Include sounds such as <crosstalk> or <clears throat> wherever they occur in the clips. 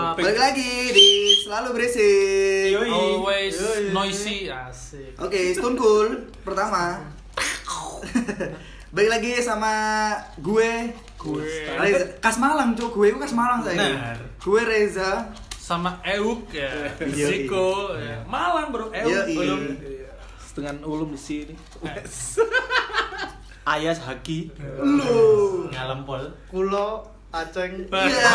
lagi di Selalu Berisik Yoi. Always Yoi. noisy asik. Oke, Stone Cool pertama <laughs> Balik lagi sama gue Gue Reza Kas Malang, Cuk. Gue itu Kas Malang saya Benar. Gue Reza sama Euk ya, Yoi. Ziko ya. Malang bro, Euk Yoi. belum. setengah ulum di sini. Ayas Haki. Lu Ngalem pol. Kulo Aceng Iya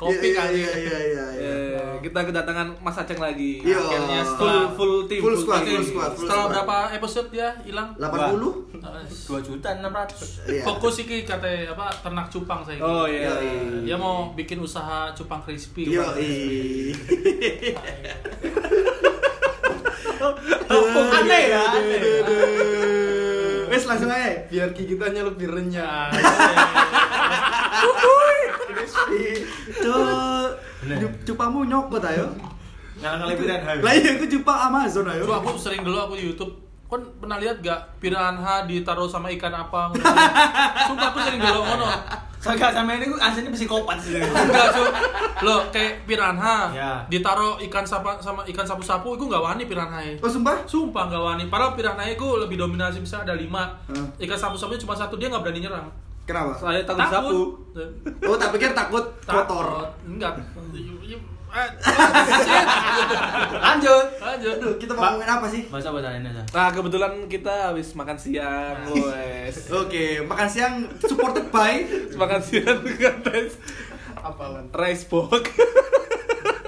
Kopi Iya, kali. ya. Iya, iya, iya, iya Eh, kita kedatangan Mas Aceng lagi. Iya. Akhirnya full full tim. Full squad, tim. full squad, full Setelah squad. berapa episode ya hilang? 80? Eh, 2 juta 600 Iya Fokus iki kata apa ternak cupang saya. Oh iya. Yoi. Dia mau bikin usaha cupang crispy. Yo, Aneh ya. Wes langsung aja. biar gigitannya lebih renyah. Ya, Itu cupamu nyokot ayo. ngalang-ngalang pilihan hari Lah iya aku cupa Amazon ayo. Iya. Dulu aku sering dulu aku di YouTube kan pernah lihat gak piranha ditaruh sama ikan apa? Sumpah aku sering dulu ngono. soalnya sama ini gue aslinya psikopat sih Enggak, cuy. Lo kayak piranha Ya. ditaruh ikan sapa, sama ikan sapu-sapu, itu nggak wani piranha. Oh sumpah? Sumpah nggak wani. Padahal piranha itu lebih dominasi bisa ada lima. Hmm. Ikan sapu-sapu cuma satu dia nggak berani nyerang. Kenapa? Soalnya takut sapu. Oh tak pikir takut kotor. Enggak. lanjut Lanjut. Aduh, kita mau ngomongin apa sih? bahasa bahasa lain aja Nah, kebetulan kita habis makan siang, Nah. wes. Oke, makan siang supported by makan siang dengan rice, Apalan. rice box.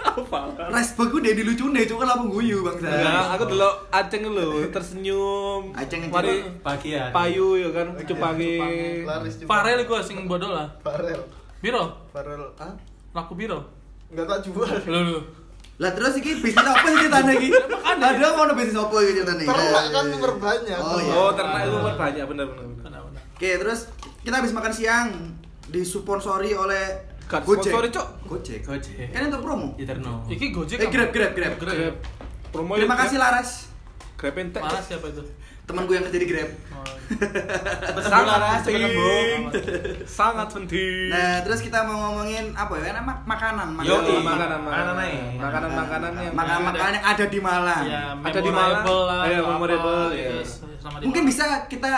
Apa? Rice Bug udah dilucuin deh, cuma langsung guyu Nah, Iya. bangsa. aku dulu aceng dulu tersenyum. Aceng, aceng. Mari pagi ya payu ya kan cupangi. Laris juga. Farel gue sing bodoh lah. Farel. Biro, Farel. Ah, laku biro. enggak tak jual. Lo lo. Lah terus iki bisnis apa sih ceritanya iki? Ada mau bisnis apa iki ceritanya? Iya, Ternak kan memperbanyak. Oh iya. Oh, ternak itu kan banyak bener bener. bener. Oke, terus kita habis makan siang disponsori oleh Gak Gojek. sponsori, Cok. Iya, Gojek. Gojek. Kan untuk promo. Eterno Iki Gojek. Eh, apa? Grab, Grab, Grab. Grab. Grab. Promo Terima kasih Laras, Grab entek. Malah siapa itu? teman gue yang kerja di Grab. Oh. Sangat Laras, cepet penting. sembuh. Sangat penting. Nah, terus kita mau ngomongin apa ya? Karena mak- makanan, Yo, iya, makanan. Yoi. makanan Makanan aja. makanan makanan yang Iya, makanan makanan yang ada di Malang. ya, Ada di memorable Malang. lah, Iya, atau apa, memorable, gitu, iya. sama di Mungkin Malang. bisa kita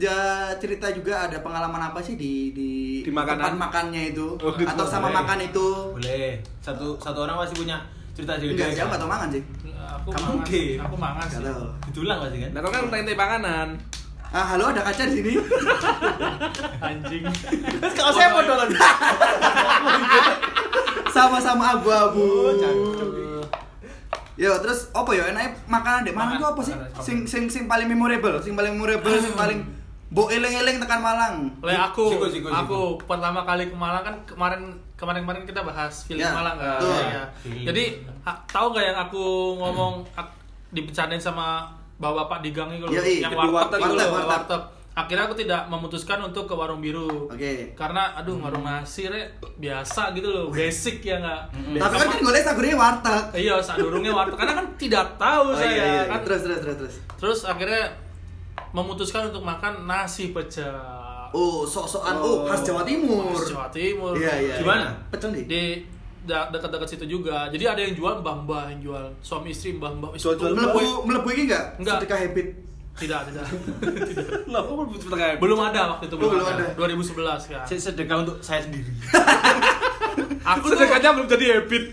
ja- cerita juga ada pengalaman apa sih di di, Di makanan? tempat makannya itu Oh, di atau tempat sama boleh. makan itu. boleh satu satu orang pasti punya cerita cerita Enggak, jangan atau makan sih. aku Kamu mangan, mungkin. aku mangan Nggak sih tahu. ditulang pasti kan Nah, kau kan tanya makanan. Ah, halo ada kaca di sini. anjing terus kalau saya mau dolan Sama-sama abu-abu. Oh, cakep. Yo, terus apa ya enaknya makanan dek Malang itu Makan- apa sih? makanan. Sing sing sing paling memorable, sing paling memorable, sing <clears throat> paling bo eleng-eleng tekan Malang. oleh aku Siko, siko, siko. aku pertama kali ke Malang kan kemarin kemarin kemarin kita bahas film Ya, Malang kan betul. Iya. jadi ha- tahu nggak yang aku ngomong ak- dibecandain sama bapak di gang itu loh, Yoi, yang di warteg Iya, warteg, itu loh, warteg. warteg. akhirnya aku tidak memutuskan untuk ke warung biru Oke. karena aduh warung nasi Re, biasa gitu loh basic ya nggak Hmm. Tapi kan kan golek sagurnya warteg. iya saat durungnya warteg karena kan tidak tahu Oh saya iya, iya. kan Terus terus terus terus. Terus akhirnya memutuskan untuk makan nasi pecel Oh, sok-sokan oh, khas Jawa Timur. Khas Jawa Timur. Iya, iya. Di mana? iya. Pecel nih. Di da- dekat-dekat situ juga. Jadi ada yang jual mbah-mbah yang jual suami istri mbah-mbah. Ih, Jual-jual tuh, Melebu gue- melebu iki enggak? Enggak. Sedekah habit. Tidak, tidak. Lah, kok belum cepet kayak belum ada waktu itu Oh, belum ada. 2011 kan. <laughs> saya sedekah untuk saya sendiri Aku tuh Sedekahnya belum jadi habit.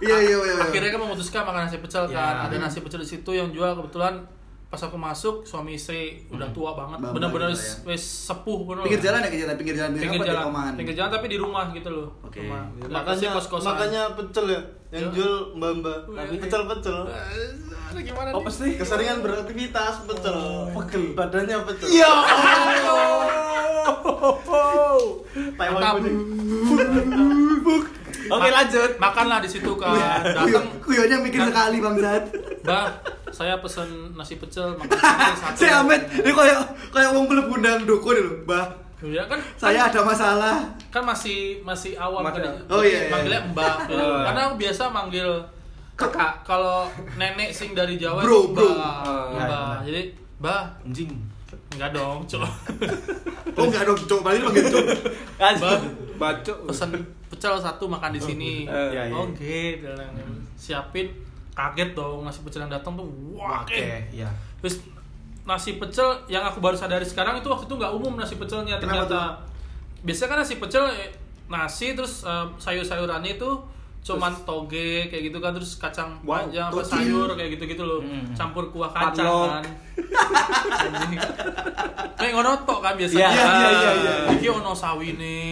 Iya iya iya. iya. akhirnya kan memutuskan makan nasi pecel kan. Ya. Ada nasi pecel di situ yang jual kebetulan pas aku masuk suami istri udah tua banget Mbah-mbah bener-bener gitu ya. s- wes sepuh bener pinggir jalan ya kejadian pinggir jalan pinggir, pinggir apa, di jalan Komahan? pinggir jalan tapi di rumah gitu loh Oke. rumah Ya, Nggak kasih Makanya kos-kosan makanya pecel ya yang Iya. jual mbak-mbak. Tapi- Pecel-pecel. Eh, gimana Oh, Apa sih? Keseringan beraktivitas pecel. Pegel badannya pecel. Iya. <laughs> Taiwan Mantap. kuning. oke lanjut makanlah di situ kan Kuyo, datang kuyonya mikir sekali Bang Zat. bah saya pesen nasi pecel makan <laughs> pecel satu Saya amet, ini kayak kayak wong belum undang dukun lho, Mbah. ya kan Saya ada masalah. kan masih masih awam Masih- kan oh, iya, iya. manggilnya mbak gitu. Oh. karena aku biasa manggil kakak kalau nenek sing dari Jawa Bro, itu bro. mbak Oh, iya, Mbak. iya. jadi mbak anjing enggak dong cok Oh enggak dong, cok, balik panggil cok. mbak Bacok. pesen pecel satu makan di sini. Oh, Eh, iya, iya. Oke, dia bilang. siapin kaget dong nasi pecel yang datang tuh wah Oke, eh. ya. Terus nasi pecel yang aku baru sadari sekarang itu waktu itu nggak umum nasi pecelnya Kenapa ternyata. Biasanya kan nasi pecel eh, nasi terus eh, sayur-sayurannya itu cuman toge kayak gitu kan terus kacang Wow, panjang apa toge. sayur kayak gitu-gitu loh. Campur kuah kacang kan. Padlock. Anjing. Kayak ngono tok kan biasanya. Iya, iya, iya, iya. Iki ono sawine.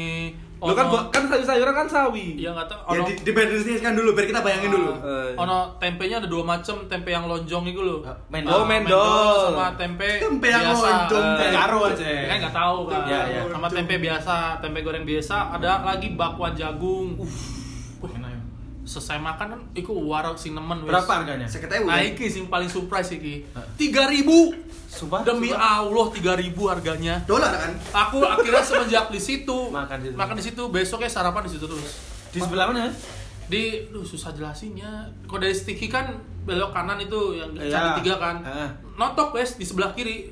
Lu kan buat- kan sayur-sayuran kan sawi. Iya nggak tahu. Ya Ono, di, dibedakan dulu biar kita bayangin dulu. Eh, ono tempenya ada dua macam, tempe yang lonjong itu loh. Eh, Oh, Mendol. mendol. sama tempe, Tempe yang biasa. lonjong, Eh, Tempe karo aja. Kan nggak tahu kan. Iya, iya. Sama tempe biasa, tempe goreng biasa, ada lagi bakwan jagung. Wah, enak ya. Selesai makan kan iku waro cinnamon wis. Berapa harganya? Seketnya Nah, udah. iki sih yang paling surprise iki. 3000. Sumpah. Demi Allah 3000 harganya. Dolar kan? Aku akhirnya semenjak di situ Makan di situ. makan di situ, besoknya sarapan di situ terus. Di sebelah mana? di duh susah jelasinnya kok dari sticky kan belok kanan itu yang Iya. cari tiga kan Heeh. notok guys di sebelah kiri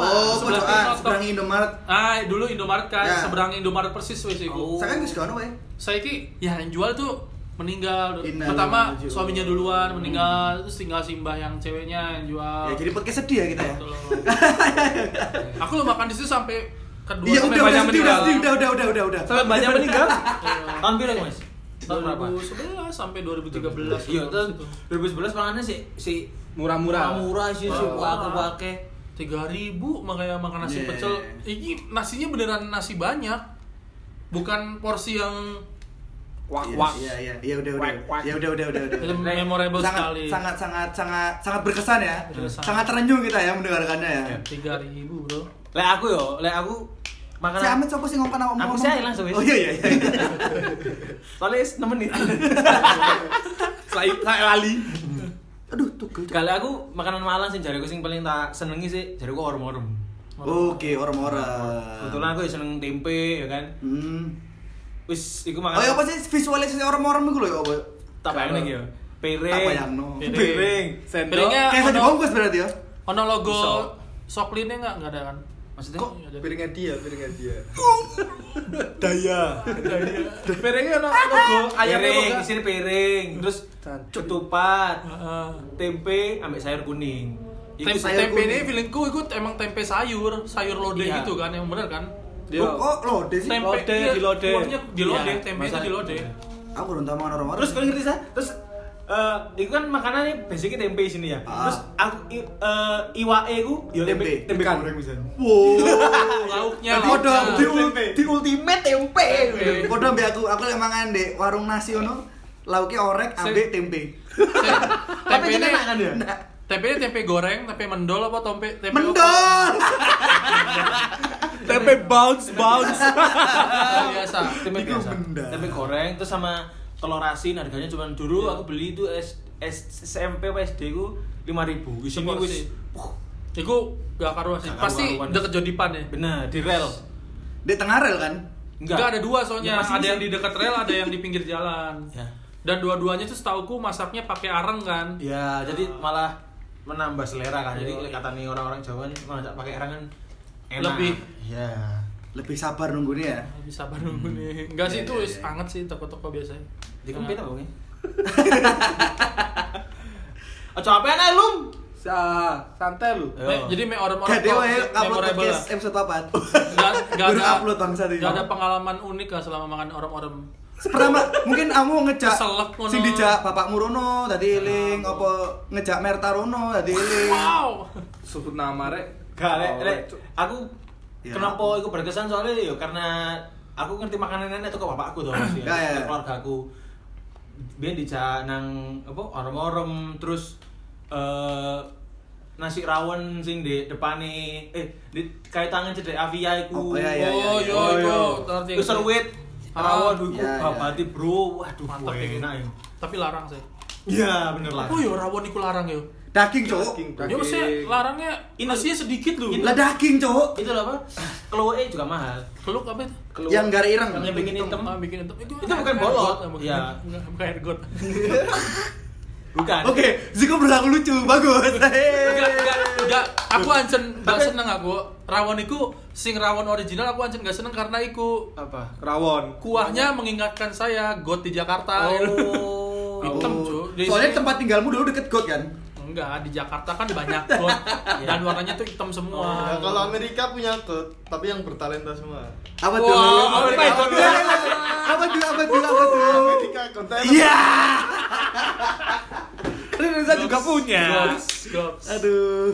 Oh, ah, sebelah pojokan TikTok. seberang Indomaret. ah dulu Indomaret kan Ya. seberang Indomaret persis wes iku Oh. Saya kan kesekono wae. saya ki ya yang jual tuh meninggal Innalillahi pertama wa'alaikum. suaminya duluan meninggal terus tinggal si mbah yang ceweknya yang jual Hmm. Ya jadi podcast sedih ya kita ya. Ah. <laughs> Betul. aku lo makan di situ sampai kedua Iya sampai udah udah banyak sedih udah meninggal. sedih udah udah udah udah udah. sampai banyak meninggal. Iya. Tahun berapa, Mas? Tahun berapa? 2011 sampai 2013 Iya, tahun tahun 2011 pangannya si si murah-murah. murah sih si Wow. aku pakai. tiga ribu makanya makan nasi Yeah. pecel ini nasinya beneran nasi banyak bukan porsi yang Wak Iya, wak. Iya iya iya udah udah. Wak, wak. Ya udah udah udah udah. film memorable sangat, sekali sangat sangat sangat sangat berkesan ya. Berkesan. Iya. Sangat terenyuh kita ya mendengarkannya ya. tiga ribu bro Lek aku yo, lek aku Si makanan. Amit siapa sih ngomong awak Aku sih langsung, wis. Oh iya iya iya. <laughs> Soalnya nemen nih. <laughs> Saya saya lali. Aduh tugel. Kali aku makanan Malang sih jariku sing paling tak senengi sih jariku orem-orem. Oke, orang-orang. Kebetulan aku ya seneng tempe ya kan. Hmm. Wis iku Oh, ya makanan. apa sih visualisasi orang-orang itu loh ya apa? Tak bayangin iki yo. Tak Piring. bayangno. Piring. Sendok. piringnya Kayak tadi ono, bungkus berarti ya. ono logo Pisau. soklinnya nggak nggak ada kan Maksudnya? Kok ada? Piringnya dia, piringnya dia. Daya. Piringnya ono <laughs> logo ayamnya Piring, kok. isinya piring. Terus Cancuk. ketupat, Heeh. tempe, ambek sayur kuning. Iku Tem- sayur tempe ini kuning. feelingku itu emang tempe sayur sayur lode Iya. gitu kan yang bener kan Dia. Oh, kok lo deh sih? tempe lode, iya, di lode. kuahnya di lode Iya, tempe itu masak- di lode Aku belum tahu makan orang-orang. Oh, Terus kau ngerti sah? Terus eh itu kan makanannya basicnya tempe sini ya. Ah. Terus aku i- eh, iwae ku ya tempe Tempe. tempe goreng misalnya. wow. lauknya Tadi lauknya. Eh, ada di Tempe. di ultimate tempe. Tempe. Podo ambek aku, aku lek mangan di warung nasi ono, lauknya orek ambek tempe. Nah, Tapi tempe kita ini enak kan ya? tempe ini tempe goreng tempe mendol apa tempe tempe apa? Mendol. Tempe bounce bounce. Tempe biasa Tempe Iku biasa. benda. Tempe goreng terus sama telur asin harganya cuma dulu aku beli itu S, S- SMP apa SD ku 5000. Di sini Seporsi. wis uh, Iku gak karuan sih. Gak Pasti karuan. deket jodipan ya. bener di rel. Di tengah rel kan? Enggak ada dua soalnya. Ya, masih ada bisa. yang di dekat rel, ada yang di pinggir jalan. Ya. Dan dua-duanya tuh setauku masaknya pakai areng kan. Ya, jadi malah menambah selera kan. Jadi Yoi. kata nih orang-orang Jawa nih, masak pakai arang kan enak. Lebih. Ya. Lebih sabar nunggunya ya. Bisa bareng Hmm. nih. Enggak Ya, sih itu is anget sih toko-toko biasanya. Nah, Dikempit apa kan bang? Ojo apa enak lum? Sa santai lu. Yo. me- Eh, Jadi me orang-orang Gak dewa kok ya upload memorable podcast lah. episode 4 Nggak- nggak Baru ada- upload bangsa tuh nggak ada pengalaman unik lah selama makan orang-orang Pertama, mungkin kamu ngejak Keselak ngono. Nah. Sing dijak bapakmu Rono, tadi iling Apa ngejak Merta Rono, tadi <laughs> iling Wow. Sebut nama rek. Gak, lek, Oh, lek. Cuk. Aku Ya. kenapa aku berkesan soalnya yo karena aku ngerti makanan nenek itu ke bapakku tuh Ya, ya, ya. ke keluarga aku. Biar dijak nang apa orem-orem terus eh nasi rawon sing di depane eh di kayak tangan cedek avia Oh, iku. ya, ya, ya, Oh, ya. yo yo. Ngerti, ngerti. Terus seruit Ah. rawon iku Ya, ya. babati bro. Waduh, Mantap wah, ya. enak. ya. Tapi larang sih. Iya, bener lah. Oh yo rawon iku larang yo. Daging cowok Yo mesti larangnya Ini- nasinya sedikit lu. Lah daging cowok itu loh apa keluarnya juga mahal Keluk apa itu? Keluar- Yang gara ireng yang bikin hitam Ah, bikin itu. Itu bukan air bolot. got, bukan- Iya. bukan bukan air got. Bukan. Oke, Ziko berlaku lucu, <laughs> bagus. Enggak, Hei. enggak, enggak. Aku ancen enggak seneng aku. Rawon iku sing rawon original aku ancen enggak seneng karena iku apa? Rawon. Kuahnya mengingatkan saya got di Jakarta. Gitu. Oh. Hitam, cuy. Di Soalnya sini- tempat tinggalmu dulu deket got kan? Enggak, di Jakarta kan banyak got dan warnanya tuh hitam semua. Ya, kalau Amerika punya tuh, tapi yang bertalenta semua. Wah, Apa tuh? Amerika Apa itu. tuh? Apa tuh? Apa tuh? Apa tuh? <laughs> Amerika konten. Oh. Iya. Kan Reza juga punya. Goks, goks. Aduh.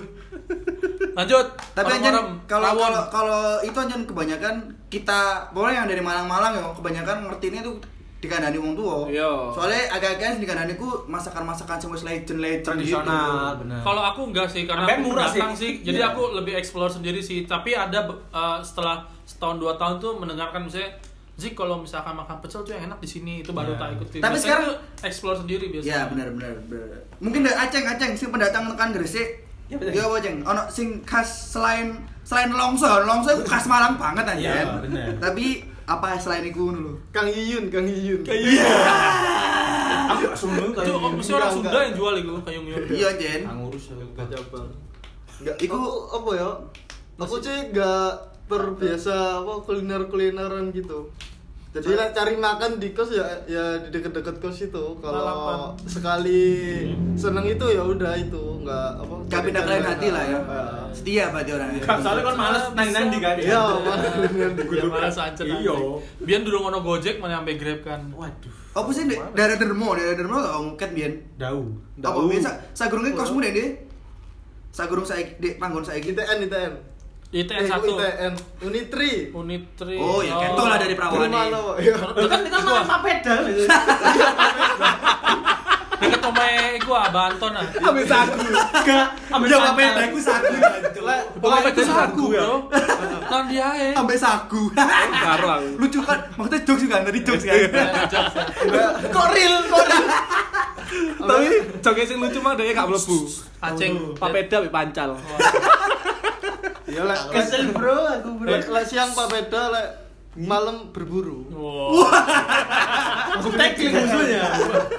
Lanjut. Tapi Orang-orang, anjir kalau rawon. kalau kalau itu anjir kebanyakan kita pokoknya yang dari Malang-Malang ya kebanyakan ngertiinnya tuh dikandani wong tua. Iya. Soalnya agak-agak dikandani ku masakan-masakan semua legend-legend Tradisional, gitu. benar. Kalau aku enggak sih karena Sampai aku murah datang sih. sih. Jadi Iya. aku lebih explore sendiri sih. Tapi ada be- eh, setelah setahun dua tahun tuh mendengarkan misalnya Zik kalau misalkan makan pecel tuh yang enak di sini itu baru Iya. tak ikuti. Tapi Biasanya sekarang- tuh explore sendiri biasanya. Ya benar benar benar. Mungkin dari Aceng Aceng sing pendatang tekan Gresik. Ya, betul. Ya apa Aceng? Ono sing khas selain selain longso, longso itu khas Malang banget aja. Ya, benar. Tapi apa selain itu dulu? Kang Iyun, Kang Iyun. Iya. aku gak sungguh Itu oh, kayak mesti orang Enggak, Sunda enggak. yang jual oh, itu kayung yun. Iya Jen. Nggak ngurus aku. Gak jabal. Enggak, Aku iku apa ya? Aku cuy gak terbiasa apa kuliner-kulineran gitu. Jadi lah cari makan di kos ya ya di deket-deket kos itu. Lalapan. Kalau sekali seneng itu ya udah itu nggak apa. gak pindah cari-cari kalian hati lah ya. Iya. Setia berarti orangnya. Kan, Soalnya kan males nang-nang di kan. Iya, malah kuliner di Yang malah sancet Iya. Biar durung ono Gojek mana sampai Grab kan. Waduh, Apa sih Dek? daerah dermo, daerah dermo gak ngungket Bian? dau. Apa biasa? Sagurungnya kosmu deh deh. Sagurung saya di panggon saya gitu. ITN, ITN. ITN Eh, 1. ITN. Unitri. Unit 3. Oh ya, kentol lah dari Perawan Rumah nih. lo. Iya. Dekat kita mah pedal. <laughs> dekat omae gua Banton ah. Iya. Ambil saku. Gak, ambil Ya saku. apa yang aku sagu Jan. Lah, Pokoknya itu Pokoknya saku, saku, ya. Bro. Nang diae. Ambe sagu. <laughs> Karo aku. Lucu kan? Maksudnya jokes juga dari jokes kan. Kok real? Kok real? Tapi joget sing lucu mah dhek gak mlebu. Aceng Papeda be pancal. iya lah. Kesel bro, aku bro. Lah lah siang Pak Beda lah malam berburu. Wow. Aku tackling musuhnya.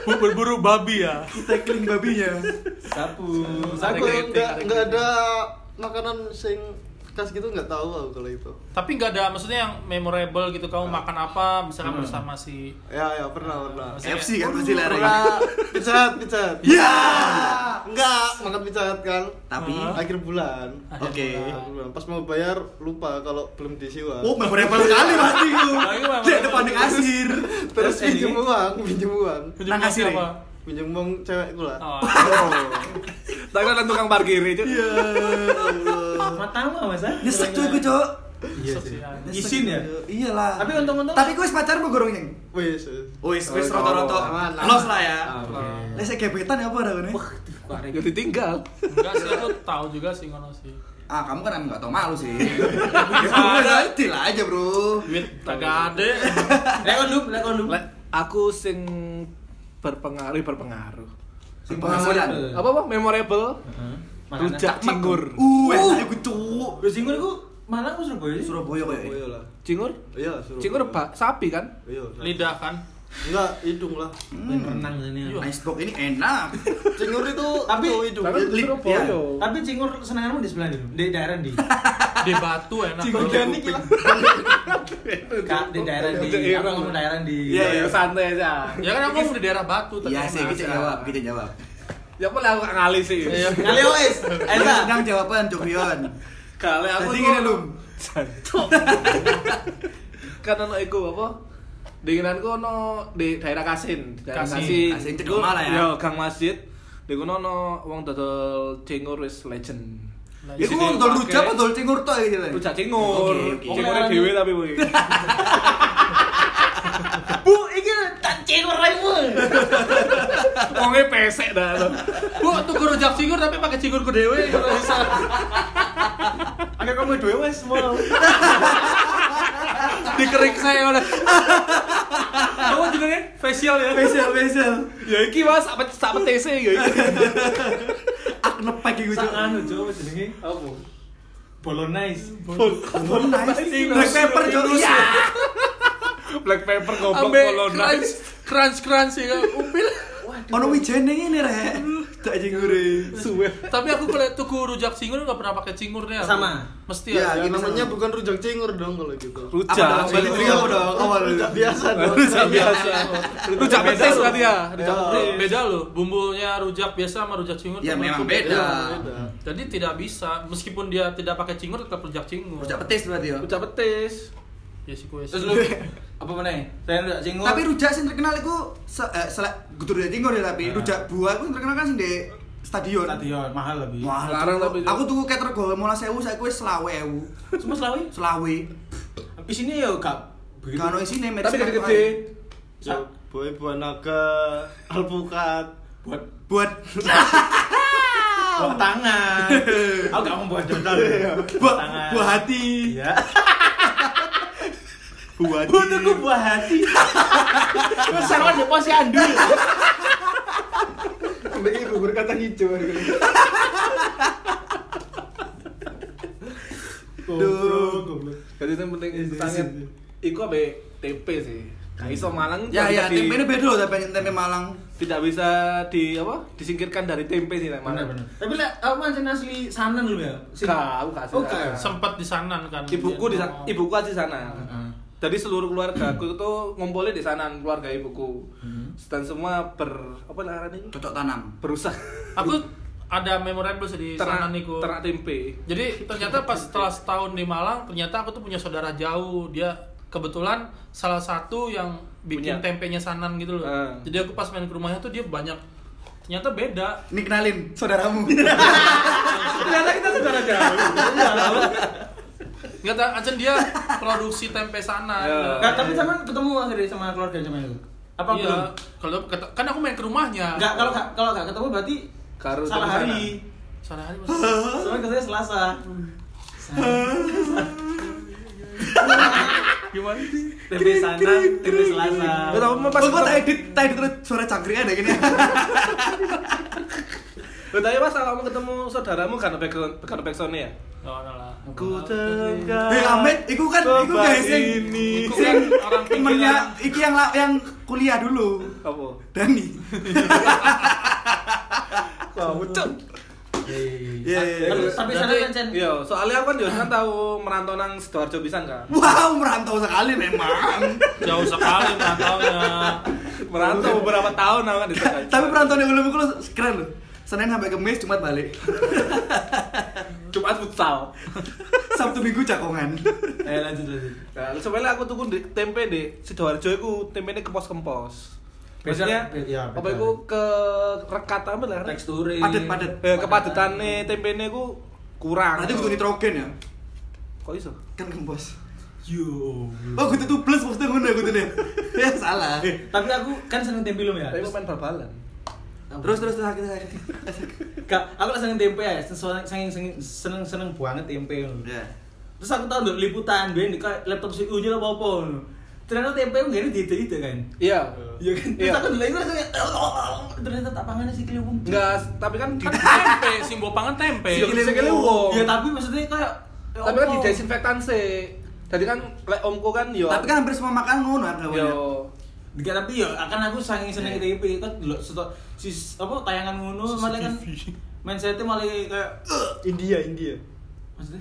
Bu- Berburu babi ya. Tackling babinya. Sapu. Aku Ada yang kritik, ada nggak nggak kritik. ada makanan sing khas gitu nggak tahu aku kalau itu. Tapi nggak ada maksudnya yang memorable gitu kamu makan apa misalkan Hmm. bersama si Ya ya pernah pernah. Maksudnya- FC kan pasti lari. Pernah pizzat pizzat. Ya. Enggak makan pizzat kan. Tapi Hah? Akhir bulan. Akhir Oke. Akhir bulan. Pas mau bayar lupa kalau belum disiwa. Oh, memorable sekali pasti ku. Lagi memorable. Dia depan di kasir. Terus terus pinjem ini? uang, pinjem uang. Tunjuk Nang ya? kasih siapa? Pinjem uang cewek gula. Oh. Tak kan tukang parkir itu. Ya Allah. Matamu mas ah. Nyesek cuy gue, Cok. Iya sih. Sosial. Nyesek, Isin ya? Cok. Iyalah. Tapi untung-untung- Tapi gue pacar mau gorongnya. Wis. Wis, wis Oh, roto-roto. aman, aman. Los lah ya. Ah, oke. Lah saya gebetan ya apa ada nih? Ya ditinggal. Enggak sih aku tahu juga sih ngono sih. Ah, kamu kan emang gak tau malu sih. Ya, deal aja, Bro. Duit kagak ada. Lekon lu, lekon lu. Le- Aku sing berpengaruh berpengaruh. Sing penghasilan. Apa apa memorable? Hmm. Rujak cingur. Uh, enak gue, Cok. Lu singgur aku malah aku Surabaya. sih. Surabaya kok ya. Iya lah. Cingur? Iya, suruh. Cingur bak sapi kan? Iya. Lidah kan. Enggak, hidung lah. Main renang ini. Nice Hmm. box ini enak. Cingur itu Tapi- itu hidung. Tapi iya. lip, Surabaya. ya. Tapi cingur kesenanganmu di sebelah di di daerah <laughs> di. Di batu enak. Cingur Kalau- Janik. Kak, di daerah di. Rujak Aku ireng. ngomong daerah di. Iya, ya santai aja. Ya kan aku ngomong di daerah batu tadi. Iya sih, kita jawab, kita jawab. Ya pun aku gak ngalih sih. Iya. Kali wes. Eta. Tentang jawaban Ya, Cokrion. Kali aku Jadi tuh- gini lum. <laughs> kan ono iku apa? Dinginanku ono di daerah Kasin, di daerah Kasin. Kasin. Kasin, cedek Iku- malah ya. Yo, Gang Masjid. Di kono ono wong dodol cingur wis legend. Legend. Di Iku situ dol pakai- rujak apa dol cingur tok ya, iki lho. Rujak cingur. Oke, oke. Cingure dhewe tapi <laughs> kuwi. Bu, iki tak cingur raimu. Wonge pesek dah. lo. Bu, tuku rujak cingur tapi pakai cingurku dewe kalau bisa. Ada kamu dua wes mau. Dikerik saya oleh. Kamu jenenge facial ya. Spesial, spesial. Ya iki Mas apa sak petese gitu. ya iki. Ak nepek ya, iku Sang Cok. anu coba jenenge apa? Bolognese. Oh, nice. Black pepper Cok. Iya. Black pepper goblok Ambe kolonel. crunch crunch crunch ya. Upil. Ono wijene ngene rek. Tak jengure. Suwe. Tapi aku kalau tuku rujak cingur nggak pernah pakai cingurnya. aku. Sama. Mesti Iya, ya. Ya, gitu namanya sama. bukan rujak cingur dong kalau gitu. Apa dong? Balik Rujak. tri apa dong? Awal. Rujak biasa dong. Rujak biasa. Rujak Iya, beda petis loh. Iya. tadi ya. Rujak Ya. petis. Beda loh. Bumbunya rujak biasa sama rujak cingur. Ya tuh memang menurutku beda. Iya, beda. Jadi tidak bisa meskipun dia tidak pakai cingur tetap rujak cingur. Rujak petis berarti ya. Rujak petis. Ya sih kuis. Terus lu apa meneh? Saya ndak singgung. Tapi rujak sing terkenal iku se- eh, selek gudur ya tinggal ya tapi Nah. rujak buah iku yang terkenal kan sing di stadion. stadion ya, mahal lebih. Wah, Larang tapi itu. aku tuku keter gol mola 1000 saiki wis 20.000. Semua Selawi. Selawe. Isine ya gak begitu. Kan ono isine match Tapi kan, gede-gede. Ya, boy buah naga, alpukat. buat Pak. Buat buat <laughs> tangan. Aku gak mau buat dodol. buat buat hati. Iya. Buat. Butuhku buah hati. Terus sarwa di posisi andu. Ini bubur kacang hijau. Jadi yang penting sangat. Iku abe tempe sih. Gak iso malang. Ya tapi ya, di- tempe ini beda loh tapi tempe Malang. Tidak bisa di apa? Disingkirkan dari tempe sih nek malang. Bener-bener. Tapi lek aku mancing asli sanan lu ya. Sing- Kau kasih. Oke. sempat di sana kan. Ibuku di sana, Oh. ibuku aja di sana. Heeh. Jadi seluruh keluarga aku itu ngumpulnya di sana keluarga ibuku. Dan semua ber apa namanya ini? Cocok tanam. Berusaha <laughs> Aku ada memorable sih di sana ternak niku. ternak tempe. Jadi ternyata pas setelah setahun di Malang, ternyata aku tuh punya saudara jauh. Dia kebetulan salah satu yang bikin Punya. tempenya Sanan gitu loh. Ah. Jadi aku pas main ke rumahnya tuh dia banyak. Ternyata beda. Ini kenalin saudaramu. Ternyata kita saudara jauh. Nggak tahu, Acen dia produksi tempe Sanan. Ya. Nah, tapi zaman ketemu akhirnya sama keluarga zaman itu. Apa iya. belum? Kalau kata- kan aku main ke rumahnya. Enggak, kalau enggak kalau enggak ketemu berarti Karo salah tapi hari. Sana hari masih- Soalnya katanya Selasa. <laughs> Hmm. Gimana sih? TV sana, TV Selasa. Gak tau mau Pas pas kok tak ketemu- edit, tak edit terus suara cangkrik ada gini. Gak tau ya pas kamu ketemu saudaramu karena background karena backsoundnya ya. Nggak ada lah. Ku Hei Ahmed, iku kan iku guys sing ini. Iku kan orang <laughs> temennya pinggiran. iki yang la- yang kuliah dulu. Apa? Dani. Wah, ucap. Iya, iya, Tapi iya. tapi Berarti- sana kan Cen. Iya, soalnya aku kan juga kan tahu merantau nang Sidoarjo pisan kan. Wow, merantau sekali memang. Jauh sekali merantaunya. Merantau beberapa tahun aku kan di Sidoarjo. Tapi perantauan yang belum lu keren loh. Senin sampai Kamis Jumat balik. Jumat futsal. Sabtu Minggu cakongan. Eh lanjut lanjut. Nah, sebenarnya aku tuku di tempe di Sidoarjo iku tempene kempos-kempos. Biasanya Beda- ya, beda. apa iku ke rekat apa lah? Teksture. Padet-padet. Eh, kepadatane tempene ku kurang. Berarti butuh nitrogen ya? Kok iso? Kan kempos. Yo. Oh, kudu tuh plus maksudnya ngono kudu deh. Ya salah. Tapi aku kan seneng tempe lu ya. Tapi aku main bal-balan. Terus terus terus sakit sakit. Gak, aku lah seneng tempe ya, seneng seneng seneng seneng banget tempe. lho. Ya. Terus aku tau nduk liputan ben di kayak laptop sih unyil apa apa. lho. Ternyata tempe yang gini diide-ide kan. Iya. Iya kan? Iya. Terus aku dulu itu langsung kayak, ternyata tak pangannya sih keliwung. Enggak, tapi kan di Kan tempe, sing mbok pangan tempe. Iya, Sikile sikile wong. wong. Ya tapi maksudnya kayak ya Tapi kan apa? di desinfektan sih. Jadi kan lek omku kan yo Tapi kan hampir semua makan ngono kan yo kawannya. Enggak, tapi ya akan aku saking seneng Iya. tempe kan dulu seto si apa tayangan ngono malah kan mindsetnya malah kayak India, India. maksudnya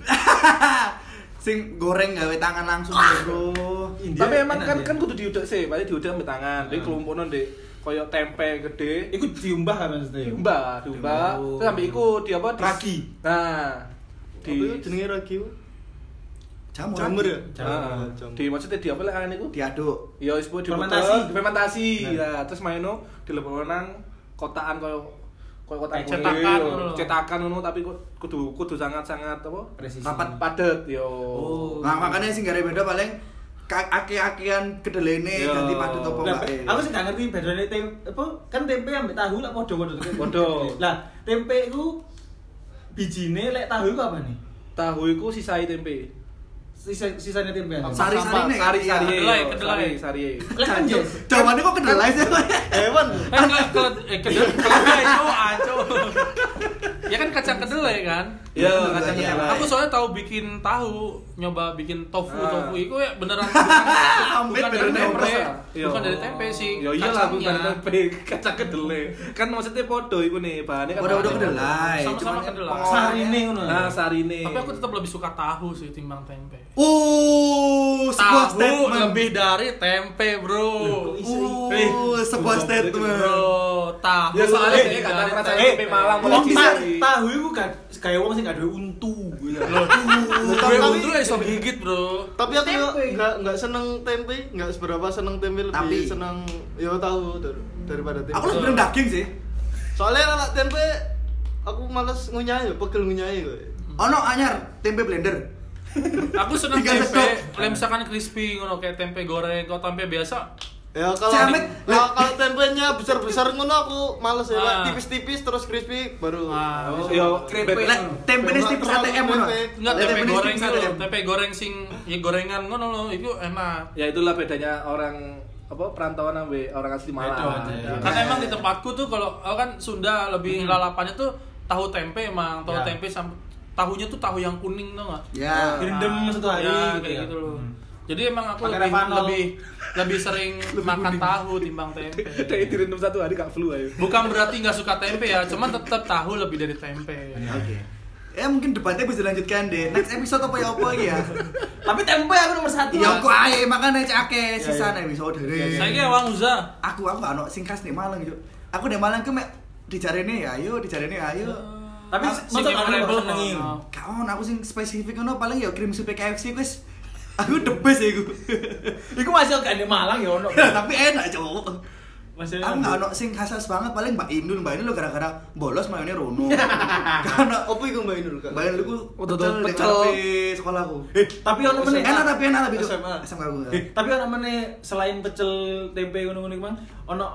Sing goreng gawe tangan langsung bro. India Tapi emang enak kan ya. kan kudu diudak sih, berarti diudak ambek tangan. Jadi Hmm. kelompokno ndek koyo tempe gede. Iku diumbah kan maksudnya? Diumbah, diumbah. Diumbah. Terus ambek iku di apa? Di, Ragi. Nah, Apa di itu jenenge ragi? Jamur. Jamur ya? Nah, Jamur. di maksudnya di apa lek anane iku? Diaduk. Ya wis di Fermentasi. fermentasi. Nah, Nah. terus maino dilebokno nang kotaan koyo koyo kotaan Kayak cetakan kulit, ngono lho. Iya, cetakan ngono tapi ku- kudu kudu sangat-sangat apa? Presisi. Rapat Padet yo. Oh. Nah, makanya sih gak ada beda paling ka- aki-akian kedelene Yo. ganti padu topo Lah, wae. Nah, aku sih gak ngerti bedanya tempe apa kan tempe ambek tahu lah podo-podo. Podo. Lah, tempe iku bijine lek tahu iku apa nih? Tahu iku sisai tempe. iya. Sisa sisanya tempe. apa? Sari- Iya, Sari-sarine kan? sari-sari. Kedelai, yo, kedelai. Sari-sari. Lah kan yo. Jawabannya kok kedelai sih? Hewan. Eh ah, enggak, kalau eh kedel- kedelai itu aco. Ya kan Ya kacang kedelai kan? Iya, Bener, kacang iya. kedelai. Aku soalnya tahu bikin tahu, nyoba bikin tofu Ah. tofu itu ya <laughs> beneran Amit, bukan, bukan dari beneran tempe, diompres, Iya. bukan dari tempe sih. Ya iyalah bukan dari kacangnya. tempe, kacang kedelai. Kan maksudnya podo iku nih, bahannya kan Udah-udah podo. kedelai. Sama-sama cuman kedelai. pengolahnya- Sarine ngono. Nah, sarine. Tapi aku tetap lebih suka tahu sih timbang tempe. Uh, sebuah Tahu statement. lebih dari tempe, Bro. Uh, sebuah statement. Uh, Bro, tahu. Ya soalnya lebih dia gak ada dari perasaan tempe. tempe Malang Wong mulai ta- dari- tahu iku kan kayak wong sing gak duwe untu. gitu Gue Tapi- untung ya bisa gigit, Bro. tapi aku nggak nggak seneng tempe nggak seberapa seneng tempe lebih Tapi- seneng ya tahu dar- daripada tempe Aku lebih seneng daging sih. soalnya anak tempe aku males ngunyah ya pegel ngunyah ya Oh no, anyar tempe blender. Aku seneng Tiga tempe, sendok. lem misalkan crispy ngono kayak tempe goreng, kalau tempe biasa ya kalau Ciamik. kalau kalau tempenya besar besar ngono aku males ya Ah. tipis tipis terus crispy baru Ah, Habis yo, itu. krepek. Lah, tempe ini tipis Terlalu ATM ngono. tempe. enggak Lah, tempe ini goreng tipis gitu, ATM. tempe goreng sing ya gorengan ngono loh, itu enak. Ya itulah bedanya orang apa perantauan ambe orang asli Bedo Malang. aja ya. Ya. Karena emang di tempatku tuh kalau aku kan Sunda Hmm. lebih lalapannya tuh tahu tempe emang, tahu Ya. tempe sama tahunya tuh tahu yang kuning tuh enggak? Ya. Direndam satu hari ya, gitu kayak ya. gitu loh. Hmm. Jadi emang aku Pakai lebih, Ravanol. lebih lebih <laughs> sering makan tahu timbang tempe. Dari direndam satu hari gak flu ayo. Bukan berarti nggak suka tempe ya, cuman tetap tahu lebih dari tempe. Oke. Ya mungkin debatnya bisa dilanjutkan deh. Next episode apa ya apa lagi ya? Tapi tempe aku nomor satu. Ya aku ayo makan aja ake sisa nih episode deh. Saya kira Wang Uza. Aku aku ano singkas nih Malang yuk. Aku nih Malang ke mek dijarene ya ayo dijarene ya ayo. Tapi Ah, masa sing kamu nggak memorable, senengi? no. Kawan aku sing spesifik ngono paling ya krim sup KFC wis. Aku the best ya aku. Iku masih gak di Malang ya ono. <laughs> Tapi enak cowok. Masih Iya, Aku nggak ono sing khas banget paling Mbak Indul, Mbak Indul gara-gara bolos mayone rono. Karena opo Oh. iku mbak Inul kak Mbak Indul ku Udah pecel di pecel. ngarepe sekolahku. Eh, tapi ono meneh. Enak tapi enak tapi itu. SMA. SMA aku. ya. Eh, tapi ono meneh selain pecel tempe ngono-ngono iku, Mang, ono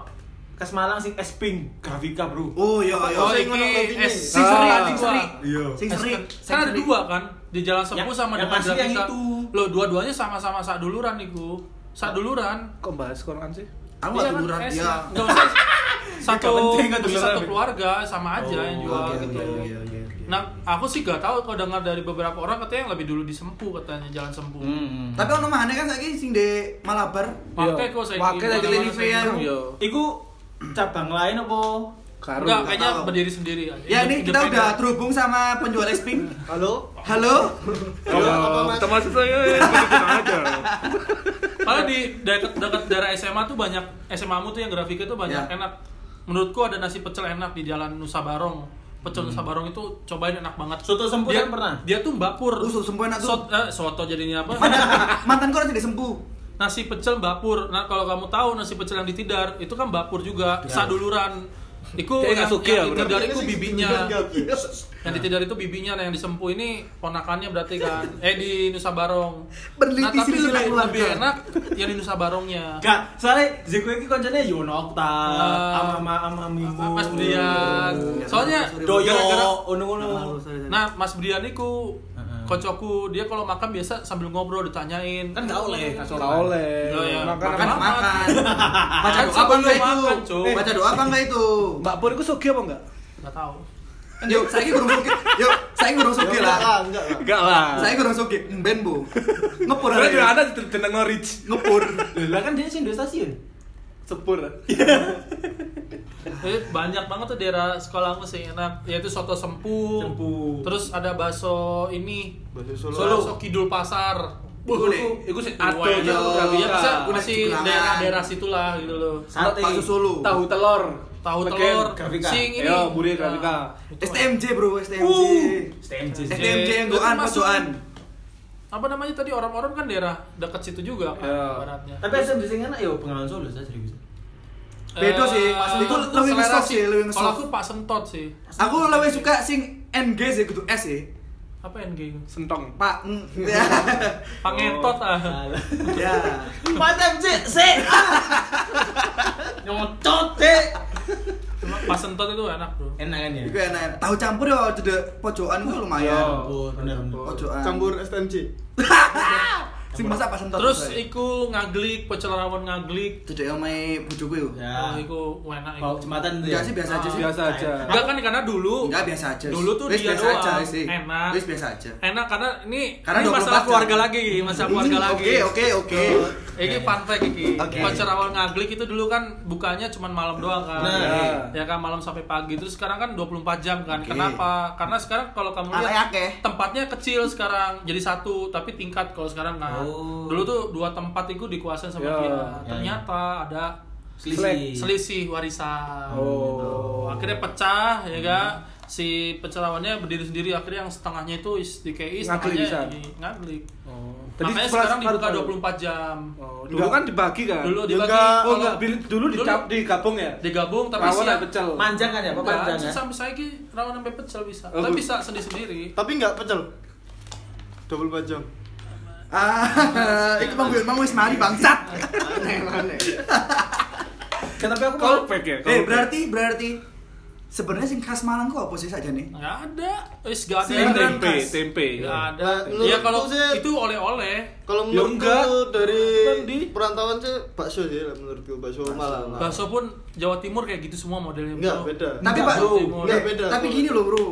khas Malang sing es pink grafika, Bro. Oh iya iya. Oh, sing ini ngono lobinya. es Sing seri, Ah. sing seri. Iya. Sing seri. Kan ada dua kan di Jalan Sepuh Ya, Yang- sama yang depan asli yang Grafika. itu. Loh, dua-duanya sama-sama sak duluran niku. Sak duluran. Iya, Kok bahas koran sih? Aku nggak duluran es, ya. nggak <laughs> usah. Satu, Nggak penting, nggak beli duluran. satu keluarga sama aja Oh, yang Oke jual kan oke, gitu. oke oke oke. Nah, aku sih gak tahu kalau dengar dari beberapa orang katanya yang lebih dulu di Sempu katanya Jalan Sempu. Tapi ono mana kan saiki sing di Malabar. Pakai Iya. kok saya. Pakai dari Lenive ya. Yo. Iku cabang lain apa? Karo. Enggak, kayaknya tahu. berdiri sendiri aja. Ya ini kita Independen. udah terhubung sama penjual es pink. halo <laughs> Halo. Halo, apa, Mas? teman saya ya, gitu aja. Kalau di dekat dekat daerah SMA tuh banyak SMA mu tuh yang grafiknya tuh banyak Ya. enak. Menurutku ada nasi pecel enak di Jalan Nusa Barong. Pecel Nusa Barong itu cobain enak banget. Soto Sempu dia kan pernah? Dia tuh mbapur. Uh, soto Sempu enak tuh. Sot- eh, soto jadinya apa? Mantan kau jadi sembuh. <laughs> nasi pecel mbapur. Nah, kalau kamu tahu nasi pecel yang di Tidar itu kan mbapur juga, saduluran. Iku Dia yang, nggak suka ya, yang di berarti. Tidar Ini itu sing bibinya. duluran, Kak. Yang di Tidar itu bibinya, nah yang di Sempu ini ponakannya berarti kan. Eh di Nusa Barong. Berliti nah, tapi silsilah lebih, keluarga. lebih enak yang di Nusa Barongnya. Gak, soalnya Zeko ini koncenya Yono Okta, Ah. ama ama ama Mimu, Mas Brian. Iya, Soalnya Doyo, gara-gara- ono-ono. Nah, Mas Brian iku Heeh. kocoku, dia kalau makan biasa sambil ngobrol ditanyain. Kan gak oleh, kan. kasih Gak orang. oleh. Loh, ya. Makan Makan apa? makan. Baca Kan doa apa sebelum enggak itu? makan, Cuk. Baca doa apa enggak itu? Mbak Pur itu sugih apa enggak? Enggak tahu. Yuk, saiki kurang soge. Yuk, saiki kurang soge Enggak lah. lah, enggak lah. Enggak lah. Saiki kurang soge. Mben, Bu. Ngepur. Gue hari juga ini. ada tentang Norwich. Ngepur. Lah kan dia sih di stasiun. Sepur. Jadi Eh, banyak banget tuh daerah sekolahku sih enak, yaitu soto sempu. Sempu. Terus ada bakso ini. Bakso Solo. Solo, bakso Kidul Pasar. Boleh. Iku sih Aduh, adoh, yo. Cuk. Iya, bisa Kulit masih Jeplangan. daerah-daerah situlah gitu loh. Sate. Bakso Solo. Tahu telur. Tahu Legen. telur, grafika. sing ini. Nah. Yo, buri grafika. Itu STMJ, Bro, Uh, STMJ. STMJ. Eh, STMJ yang itu goan, masuk- pojokan. Apa namanya tadi orang-orang kan daerah dekat situ juga kan Iya. baratnya. Tapi STMJ sing enak yo pengalan Solo saya serius. Beda sih, Mas. Itu Eh, selera lebih ngesoft sih, lebih Kalau ngesoft. aku Pak Sentot sih. Aku lebih suka sing NG sih kudu S ya. Apa NG? Sentong. Pak. mm, <laughs> Ya. Pangetot ah. Alah. Ya. Pak STMJ, sik. Nyocot, sik. Cuma Pak Sentot itu enak, Bro. Enak kan ya? Iku enak. Tahu campur ya Ya, cedek pojokan ku lumayan. Bener. Pojokan. campur STMJ <laughs> Sing masak pas entot. Terus iku ngaglik, pecel rawon ngaglik. Cedek omae bojoku yo. Oh, Ya. iku enak Bau iku. jembatan itu ya. Enggak sih biasa aja sih. biasa aja Enggak kan karena dulu Enggak biasa aja. Ah, Dulu tuh Wis dia biasa doang. aja sih. Enak. Wis biasa aja. enak karena ini Karena ini 24 masalah jam. keluarga lagi, masalah keluarga Hmm, lagi. Oke, oke, oke. Ini fun fact iki. Oke. Pacar awal ngaglik itu dulu kan bukanya cuman malam doang kan. Nah. Ya kan malam sampai pagi. Terus sekarang kan 24 jam kan. Oke. Kenapa? Karena sekarang kalau kamu Anaknya lihat akeh. tempatnya kecil sekarang jadi satu tapi tingkat kalau sekarang kan. Oh. Dulu tuh dua tempat itu dikuasain sama Ya. dia. Ya, Ternyata ada Selisih. selisih warisan. Oh. gitu. Akhirnya pecah ya kan. Si pecelawannya berdiri sendiri akhirnya yang setengahnya itu is- DKI Ngaglik setengahnya bisa. di- ngaglik. Oh. Makanya sebelas sekarang dibuka baru- 24 jam. Oh, dulu kan dibagi kan? Dulu Ya dibagi. enggak. Oh, kalau- enggak, Bil- dulu dicap digabung ya? digabung tapi Rawon siap- dan pecel. Manjang kan ya, Pak Enggak, Panjang ya? sampai saya ki rawon sampai pecel bisa. Oh. Tapi bisa sendiri-sendiri. Tapi nggak pecel. Double bajang. Ah, <laughs> itu Bang Wilmang wis mari bangsat. Aneh, <laughs> aneh. Kan tapi aku Kalau malah pack ya. Eh, berarti berarti sebenarnya sing khas Malang kok apa sih saja nih? Enggak ada. Wis enggak ada. Sendiri. tempe, tempe. Enggak ada. Nah, Ya menurutku kalau sih- itu oleh-oleh Kalau Ya enggak. menurutku dari Kan di- perantauan sih bakso sih lah menurutku bakso Malang. bakso pun Jawa Timur kayak gitu semua modelnya. Enggak, bro. beda. Tapi Pak, Enggak, Jawa Timur. eh, Enggak, beda. tapi gini loh, Bro.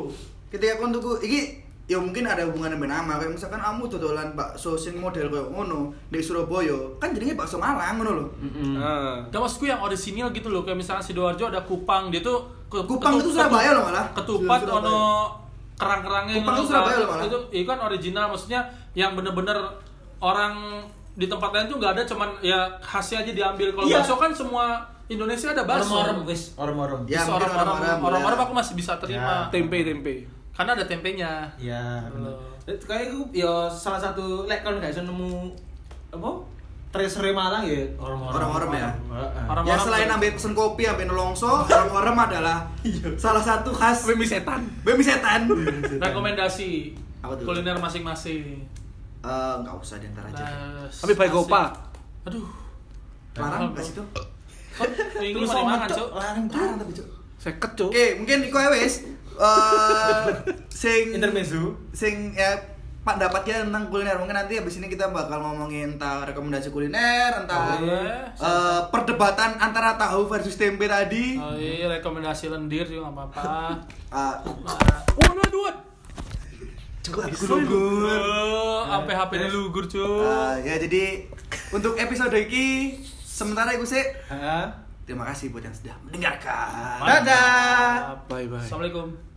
Ketika aku untukku iki ya mungkin ada hubungan dengan nama kayak misalkan kamu dodolan bakso sing model kayak ngono di Surabaya kan jadinya bakso Malang ngono loh Ah. Gak maksudku yang orisinil gitu loh, kayak misalnya Sidoarjo ada kupang, dia tuh ke- Kupang itu Surabaya loh malah. Ketupat Surabaya. ono kerang-kerangnya. Kupang ngono itu Surabaya kan. loh malah. Itu itu kan original maksudnya yang bener-bener orang di tempat lain tuh nggak ada cuman ya khasnya aja diambil. Kalau Iya. bakso kan semua Indonesia ada bakso. Orem-orem wis, orem-orem. Ya, Terus mungkin orang-orang orang-orang, orang-orang ya. Iya. aku masih bisa terima. Ya. Tempe, tempe. Karena ada tempenya. Ya, bener. Oh. Eh, Kayak iku ya salah satu lek kon gak iso nemu apa? Tracer Malang ya orang-orang. Orang-orang ya? Orang ya Orang-orang selain tuh- ambil pesen kopi ambil nelongso orang-orang adalah salah satu khas Tapi mie setan. Bemi setan. Iya. Rekomendasi Apa tuh? kuliner masing-masing. Eh, Enggak usah diantar aja. Nah, Tapi baik asik. opa. Aduh. Larang gak situ? Kok minggu Terus mari sama mangan, Cok. Cok? Larang Larang tapi cuk. Seket, Cuk. Oke, mungkin Iko ya, wes. Eh, sing intermezzo. sing ya pendapat kita tentang kuliner mungkin nanti habis ini kita bakal ngomongin tentang rekomendasi kuliner entah Boleh. eh, perdebatan antara tahu versus tempe tadi Oh iya, rekomendasi lendir juga nggak <laughs> apa-apa. Ah, Nah, Waduh, waduh, waduh. cukup aku dulu Eh, Sampai HP ini lugur Eh, cuy. ya jadi untuk episode ini sementara ya, itu sih terima kasih buat yang sudah mendengarkan Dadah. Bye bye. Assalamualaikum.